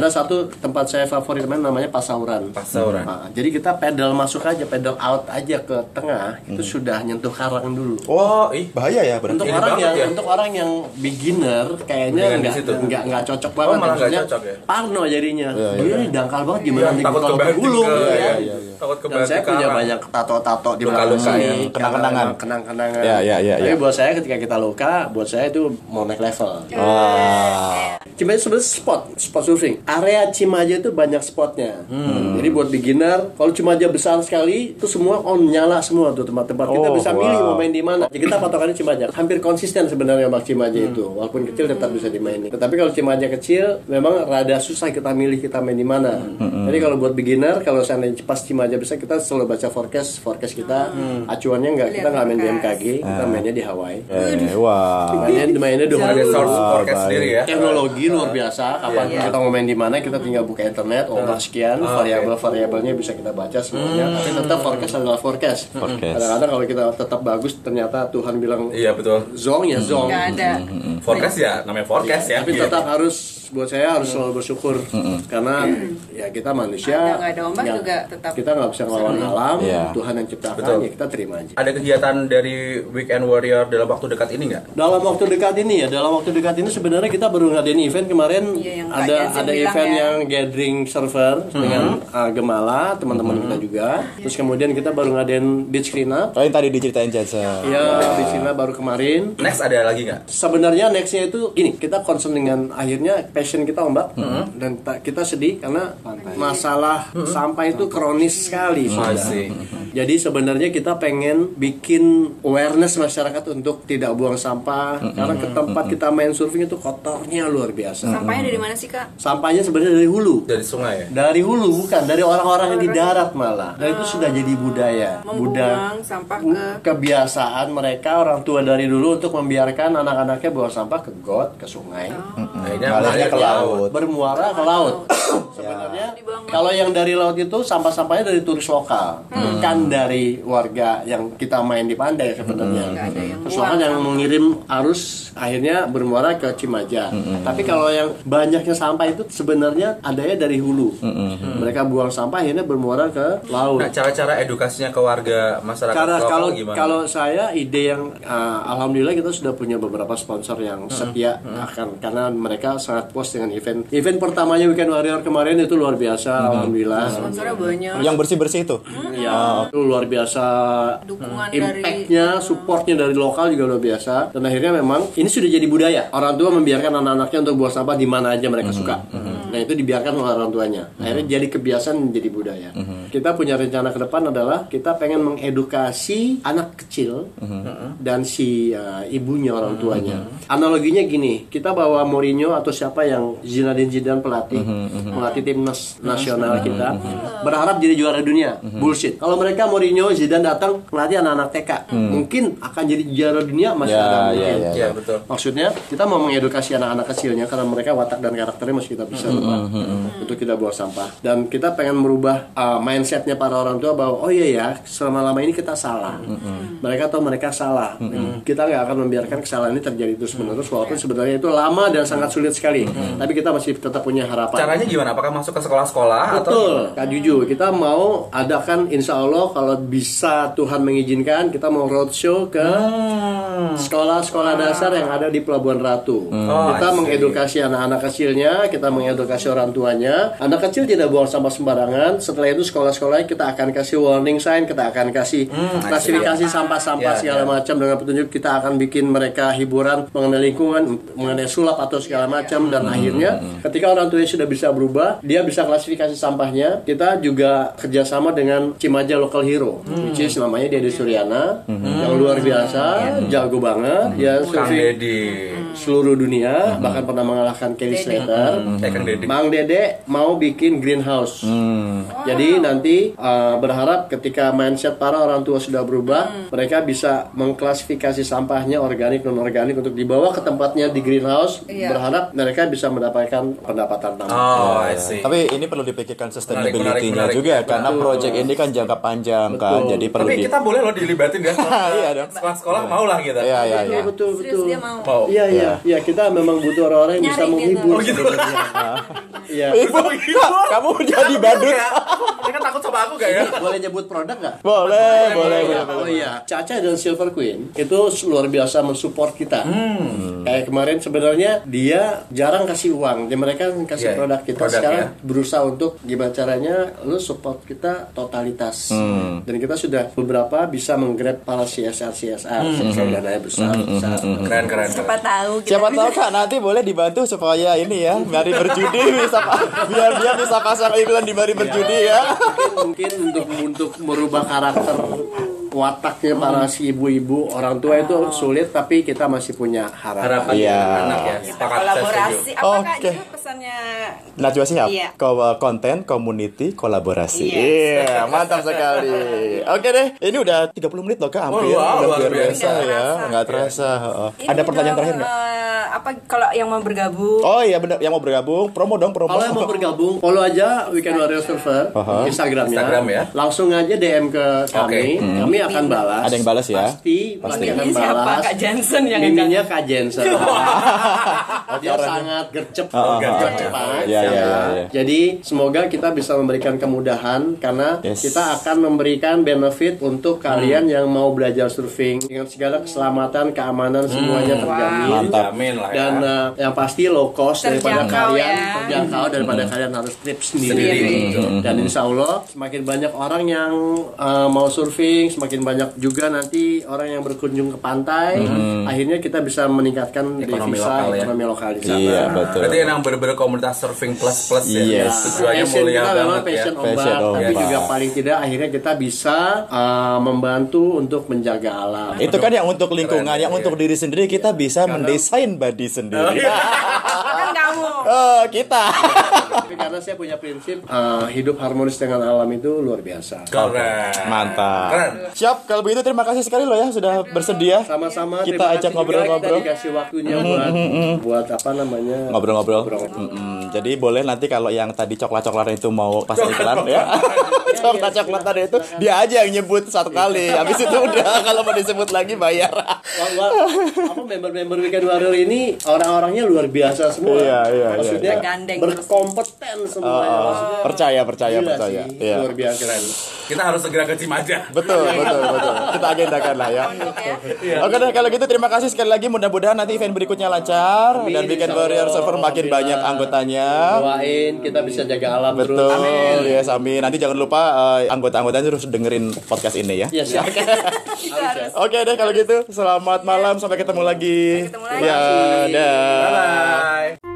B: Ada satu tempat saya favorit main namanya Pasauran.
I: Pasauran.
B: Ah, jadi kita pedal masuk aja, pedal out aja ke tengah, itu sudah nyentuh karang dulu.
H: Oh, bahaya ya berarti.
B: Untuk
I: Ini
B: orang
I: banget
B: yang
I: ya.
B: untuk orang yang beginner kayaknya
I: Mendingan di
B: nggak
I: situ.
B: nggak nggak cocok
I: Oh,
B: banget.
I: malah nggak
B: Maksudnya
I: cocok ya? iya.
B: Parno jadinya. Dia ini dangkal banget gimana nih
I: takut
B: kalau
I: kebanting
B: bergulung
I: ke-
B: ya.
I: iya, iya, iya. Takut
B: Dan
I: kebanting
B: saya
I: ke
B: punya
I: arah.
B: banyak tato-tato di
I: Luka-luka
B: belakang
I: ya. Iya,
B: sini,
H: Kenang-kenangan.
B: kenang-kenangan.
H: Ya, ya, ya,
B: Tapi
H: ya.
B: buat saya ketika kita luka, buat saya itu mau naik level.
H: Iya. Wah.
B: Cimaja sebenarnya spot, spot surfing. Area Cimaja itu banyak spotnya. Jadi buat beginner, kalau Cimaja besar sekali, itu semua on nyala semua tuh tempat-tempat. Kita
H: Oh,
B: bisa milih
H: wow.
B: mau main di mana. Jadi kita patokannya Cimaja. Hampir konsisten sebenarnya ombak Cimaja itu, walaupun kecil tetap bisa dimainin. Tetapi kalau Cimaja kecil, memang rada susah kita milih kita main di mana. Jadi kalau buat beginner, kalau seandainya pas Cimaja besar, kita selalu baca forecast, forecast kita acuannya nggak kita nggak main di MKG, kita mainnya di Hawaii.
H: Eh, wah.
B: Mainnya mainnya dua
I: Ada Ya, source forecast
H: Ah, baik.
I: sendiri ya. Iya.
B: teknologi luar biasa kapan kita mau main di mana kita tinggal buka internet ombak sekian
I: Ah,
B: variabel variabelnya bisa kita baca semuanya
I: Hmm.
B: tapi tetap forecast adalah forecast
H: Forecast.
B: kadang-kadang kalau kita tetap bagus ternyata Tuhan bilang
I: Iya betul.
B: zong ya zong
D: Nggak ada.
H: Hmm.
I: Forecast ya, namanya forecast ya. Hmm.
B: tapi
I: Iya.
B: tetap harus buat saya harus selalu bersyukur
H: Hmm.
B: karena ya kita
D: Ada
B: manusia
D: nggak ada ombak
B: nggak-
D: juga tetap.
B: kita nggak bisa ngelawan alam
H: Iya.
B: Tuhan yang ciptakan
I: Betul.
B: ya kita terima aja
I: Ada kegiatan dari Weekend Warrior dalam waktu dekat ini nggak?
B: dalam waktu dekat ini ya dalam waktu dekat ini sebenarnya kita baru ngadain event kemarin
D: Iya, yang Kak
B: ada
D: Yazin
B: ada
D: bilang
B: event
D: ya.
B: yang gathering server dengan uh, Gemala teman-teman kita juga
D: Iya.
B: terus kemudian kita baru ngadain beach cleanup
H: Oh, yang tadi diceritain Jaza.
B: ya beach cleanup baru kemarin
I: Next ada lagi nggak?
B: sebenarnya nextnya itu gini kita concern dengan akhirnya passion kita ombak dan ta- kita sedih karena masalah sampah itu kronis sekali sudah.
I: Masih.
B: Jadi sebenarnya kita pengen bikin awareness masyarakat untuk tidak buang sampah karena ke tempat kita main surfing itu kotornya luar biasa.
J: Hmm.
D: Sampahnya dari mana sih kak?
B: Sampahnya sebenarnya dari hulu.
I: Dari sungai ya.
B: Dari hulu bukan, dari orang-orang yang di darat malah. Dan itu sudah jadi budaya. Budaya
D: Membuang sampah ke
B: kebiasaan mereka orang tua dari dulu untuk membiarkan anak-anaknya buang sampah ke got, ke sungai,
I: Akhirnya
H: Malahnya ke laut.
B: bermuara ke laut. Sebenarnya
D: Dibuang
B: kalau yang dari laut itu sampah-sampahnya dari turis lokal, bukan dari warga yang kita main di pantai sebenarnya.
D: Nggak ada yang
B: Terus lokal
D: buang
B: yang mengirim arus akhirnya bermuara ke Cimaja.
H: Hmm.
B: Tapi kalau yang banyaknya sampah itu sebenarnya adanya dari hulu.
H: Hmm.
B: Mereka buang sampah akhirnya bermuara ke laut.
I: Nah, cara-cara edukasinya ke warga masyarakat
B: Karena
I: lokal
B: kalau
I: gimana?
B: kalau saya ide yang uh, alhamdulillah kita sudah punya beberapa sponsor yang setia akan karena mereka sangat puas dengan event event pertamanya Weekend Warrior kemarin itu luar biasa alhamdulillah
D: sponsornya
I: Iya.
D: banyak.
H: Yang bersih-bersih itu.
B: ya itu luar biasa Hmm.
D: Dukungan dari
B: impactnya supportnya dari lokal juga luar biasa dan akhirnya memang ini sudah jadi budaya orang tua membiarkan anak-anaknya untuk buang sampah di mana aja mereka suka Nah itu dibiarkan oleh orang tuanya. Akhirnya jadi kebiasaan menjadi budaya. Kita punya rencana ke depan adalah kita pengen mengedukasi anak kecil
H: Mhm.
B: dan si uh, ibunya orang tuanya. Analoginya gini, kita bawa Mourinho atau siapa yang Zinedine Zidane pelatih
H: Mhm,
B: melatih timnas nasional kita berharap jadi juara dunia.
H: Mhm.
B: Bullshit. Kalau mereka Mourinho Zidane datang melatih anak-anak TK, mungkin akan jadi juara dunia masih
H: Hmm. Ya,
B: ada
H: ya,
B: mungkin.
H: ya,
I: Iya, betul.
B: Maksudnya kita mau mengedukasi anak-anak kecilnya karena mereka watak dan karakternya masih kita bisa rubah untuk kita buang sampah. Dan kita pengen merubah uh, mindsetnya para orang tua bahwa oh iya ya selama lama ini kita salah. Mereka tahu mereka salah. Kita nggak akan membiarkan kesalahan ini terjadi terus menerus walaupun sebenarnya itu lama dan sangat sulit sekali. Tapi kita masih tetap punya harapan.
I: Caranya gimana? Apakah masuk ke sekolah-sekolah atau
B: Betul, Kak Juju. Kita mau adakan insya Allah kalau bisa Tuhan mengizinkan kita mau roadshow ke
I: Ah. Hmm,
B: sekolah-sekolah dasar yang ada di Pelabuhan
I: Oh,
B: Ratu.
I: I
B: kita
I: see.
B: mengedukasi anak-anak kecilnya, kita mengedukasi orang tuanya. Anak kecil tidak buang sampah sembarangan. Setelah itu sekolah-sekolah kita akan kasih warning sign, kita akan kasih
I: Hmm, I see.
B: klasifikasi sampah-sampah
I: Ya,
B: segala
I: ya.
B: macam dengan petunjuk kita akan bikin mereka hiburan mengenai lingkungan, mengenai sulap atau segala macam dan akhirnya ketika orang tuanya sudah bisa berubah, dia bisa klasifikasi sampahnya. Kita juga kerjasama dengan Cimaja Local Hero, which is namanya dia di Suryana yang luar biasa, jago banget, Ya, dia
I: Kang
B: survei
I: Deddy?
B: seluruh dunia, bahkan pernah mengalahkan Kelly Slater.
I: Eh, Kang Deddy.
B: Mang Dede mau bikin greenhouse. Jadi nanti uh, berharap ketika mindset para orang tua sudah berubah,
D: Mhm.
B: mereka bisa mengklasifikasi sampahnya organik non organik untuk dibawa ke tempatnya di greenhouse.
D: Iya.
B: Berharap mereka bisa mendapatkan pendapatan tambahan.
I: Oh, I see.
H: iya. Tapi ini perlu dipikirkan
I: Menarik, menarik,
H: sustainability-nya
I: menarik.
H: juga karena project ini kan jangka panjang kan.
B: Betul.
H: Jadi perlu
I: Tapi
H: di
I: kita boleh loh dilibatin ya.
H: Iya dong.
I: Sekolah-sekolah mau lah kita.
H: Iya, iya, iya.
B: Betul
D: Serius
B: betul.
D: dia mau.
I: Mau.
B: Iya iya iya kita memang butuh orang-orang yang bisa
D: Nyari gitu.
B: menghibur.
I: Oh, gitu. Oh,
B: sebenarnya. Iya.
H: Ibu, kamu jadi badut.
I: ya? Mereka Iya. takut sama aku gak ya?
B: Boleh nyebut produk nggak?
H: Boleh, boleh,
B: Iya,
H: boleh.
B: Oh iya, Caca dan Silver Queen itu luar biasa mensupport kita. Kayak kemarin sebenarnya dia jarang kasih uang, dia mereka yang kasih
I: Iya,
B: produk kita.
I: produk
B: Sekarang
I: ya.
B: berusaha untuk gimana caranya lu support kita totalitas. Dan kita sudah beberapa bisa menggrab para CSR CSR, CSR dananya besar. besar.
I: Keren, keren.
D: Siapa tahu kita
H: Siapa
D: bisa-
H: tahu Kak nanti boleh dibantu supaya ini ya, mari berjudi bisa pa- biar dia bisa pasang iklan di mari berjudi
I: Iya.
H: ya.
B: mungkin untuk untuk merubah karakter wataknya para si ibu-ibu orang tua itu sulit tapi kita masih punya harapan.
I: Harapan
H: Iya.
I: anak ya. Sepakat saya
D: kolaborasi
I: setuju.
D: apa kak
H: Oke.
D: itu pesannya
H: Najwa Shihab,
D: Iya.
H: Ko- eh, konten, community, kolaborasi.
D: Yes.
H: Iya, mantap sekali. Oke deh, ini udah 30 menit loh Kak, hampir.
I: Oh, wow,
H: udah
I: luar
H: luar
I: biasa.
H: biasa ya,
D: Nggak
H: nggak terasa. heeh.
D: Ini
H: Ada pertanyaan
D: dong,
H: terakhir nggak?
D: eh, apa kalau yang mau bergabung
H: Oh iya benar, yang mau bergabung, promo dong, promo.
B: Kalau yang mau bergabung, follow aja Weekend Warrior Server
H: Aha.
B: Instagramnya.
I: Instagram ya.
B: Langsung aja DM ke kami. Kami akan
H: Hmm.
B: balas.
H: Ada yang balas ya?
B: Pasti, pasti akan
D: Miminnya siapa
B: balas.
D: kak Johnson yang
B: Miminya Kak Jensen. Dia
H: orangnya.
B: sangat gercep.
H: Ah, ah,
B: gercep
I: ah,
B: banget.
H: Iya, iya, iya.
B: Jadi semoga kita bisa memberikan kemudahan karena
H: Yes. Hmm.
B: kita akan memberikan benefit untuk kalian yang mau belajar surfing dengan segala keselamatan, keamanan semuanya terjamin
H: Hmm. Mantap.
I: Jamin lah ya.
B: dan eh, yang pasti low cost daripada
D: Terjangkau
B: kalian
D: ya.
B: terjangkau daripada kalian harus trip sendiri, gitu.
I: Sendiri.
H: Mm-hmm.
B: dan insya Allah semakin banyak orang yang eh, mau surfing semakin banyak juga nanti orang yang berkunjung ke pantai
H: Mm-hmm.
B: akhirnya kita bisa meningkatkan
I: Ekonomi
B: devisa
I: lokal ya.
B: ekonomi lokal di sana
H: Iya, betul.
I: Berarti yang bener-bener komunitas surfing plus plus ya.
H: Yes.
I: Tujuannya
B: Nah, passion
I: mulia
B: kita memang
I: banget ya.
B: passion ombak,
H: Passion
B: tapi
H: ombak.
B: juga paling tidak akhirnya kita bisa eh, membantu untuk menjaga alam
H: Itu kan yang untuk lingkungan,
I: Keren,
H: yang
I: iya.
H: untuk diri sendiri kita bisa
B: Iya.
H: mendesain body
B: Oh,
H: sendiri.
D: kan kamu
H: Oh, kita.
B: tapi karena saya punya prinsip eh, hidup harmonis dengan alam itu luar biasa
I: Keren.
B: Iya.
H: Mantap.
I: Keren.
H: Siap, kalau begitu terima kasih sekali loh ya sudah bersedia.
B: sama-sama
H: Kita
B: terima kasih
H: ajak
B: juga
H: ngobrol-ngobrol. Mm-hmm.
B: kita dikasih waktunya buat buat apa namanya
H: ngobrol-ngobrol. Mm-mm. Jadi boleh nanti kalau yang tadi coklat-coklat itu mau pas iklan
B: Iya,
H: ya. Coklat-coklat tadi itu dia aja yang nyebut satu kali. Habis itu udah kalau mau disebut lagi bayar.
B: Wah, wah, apa member-member Weekend Warrior ini orang-orangnya luar biasa semua
H: Iya, iya, iya, Ah,
B: maksudnya
D: iya. Gandeng terus.
B: berkompeten semuanya maksudnya
H: percaya, percaya,
B: Oh. gila
H: percaya.
B: sih,
H: Iya.
B: luar biasa
I: Kita harus segera ke Cimaja.
H: Betul, betul, betul. Kita Iya. agendakan lah ya. Oke deh, kalau gitu terima kasih sekali lagi. Mudah-mudahan nanti event berikutnya lancar
B: Amin,
H: dan Weekend
B: insya Allah.
H: Warrior Server makin
B: Alhamdulillah.
H: banyak anggotanya.
B: doain kita bisa jaga alam
H: Ah. Betul,
B: terus
H: yes, amin. Nanti jangan lupa eh, anggota-anggotanya terus dengerin podcast ini ya.
B: ya siap
D: itu harus
H: Oke deh kalau gitu, selamat malam sampai ketemu lagi.
D: Sampai ketemu lagi.
H: Ya, dah.
I: Bye.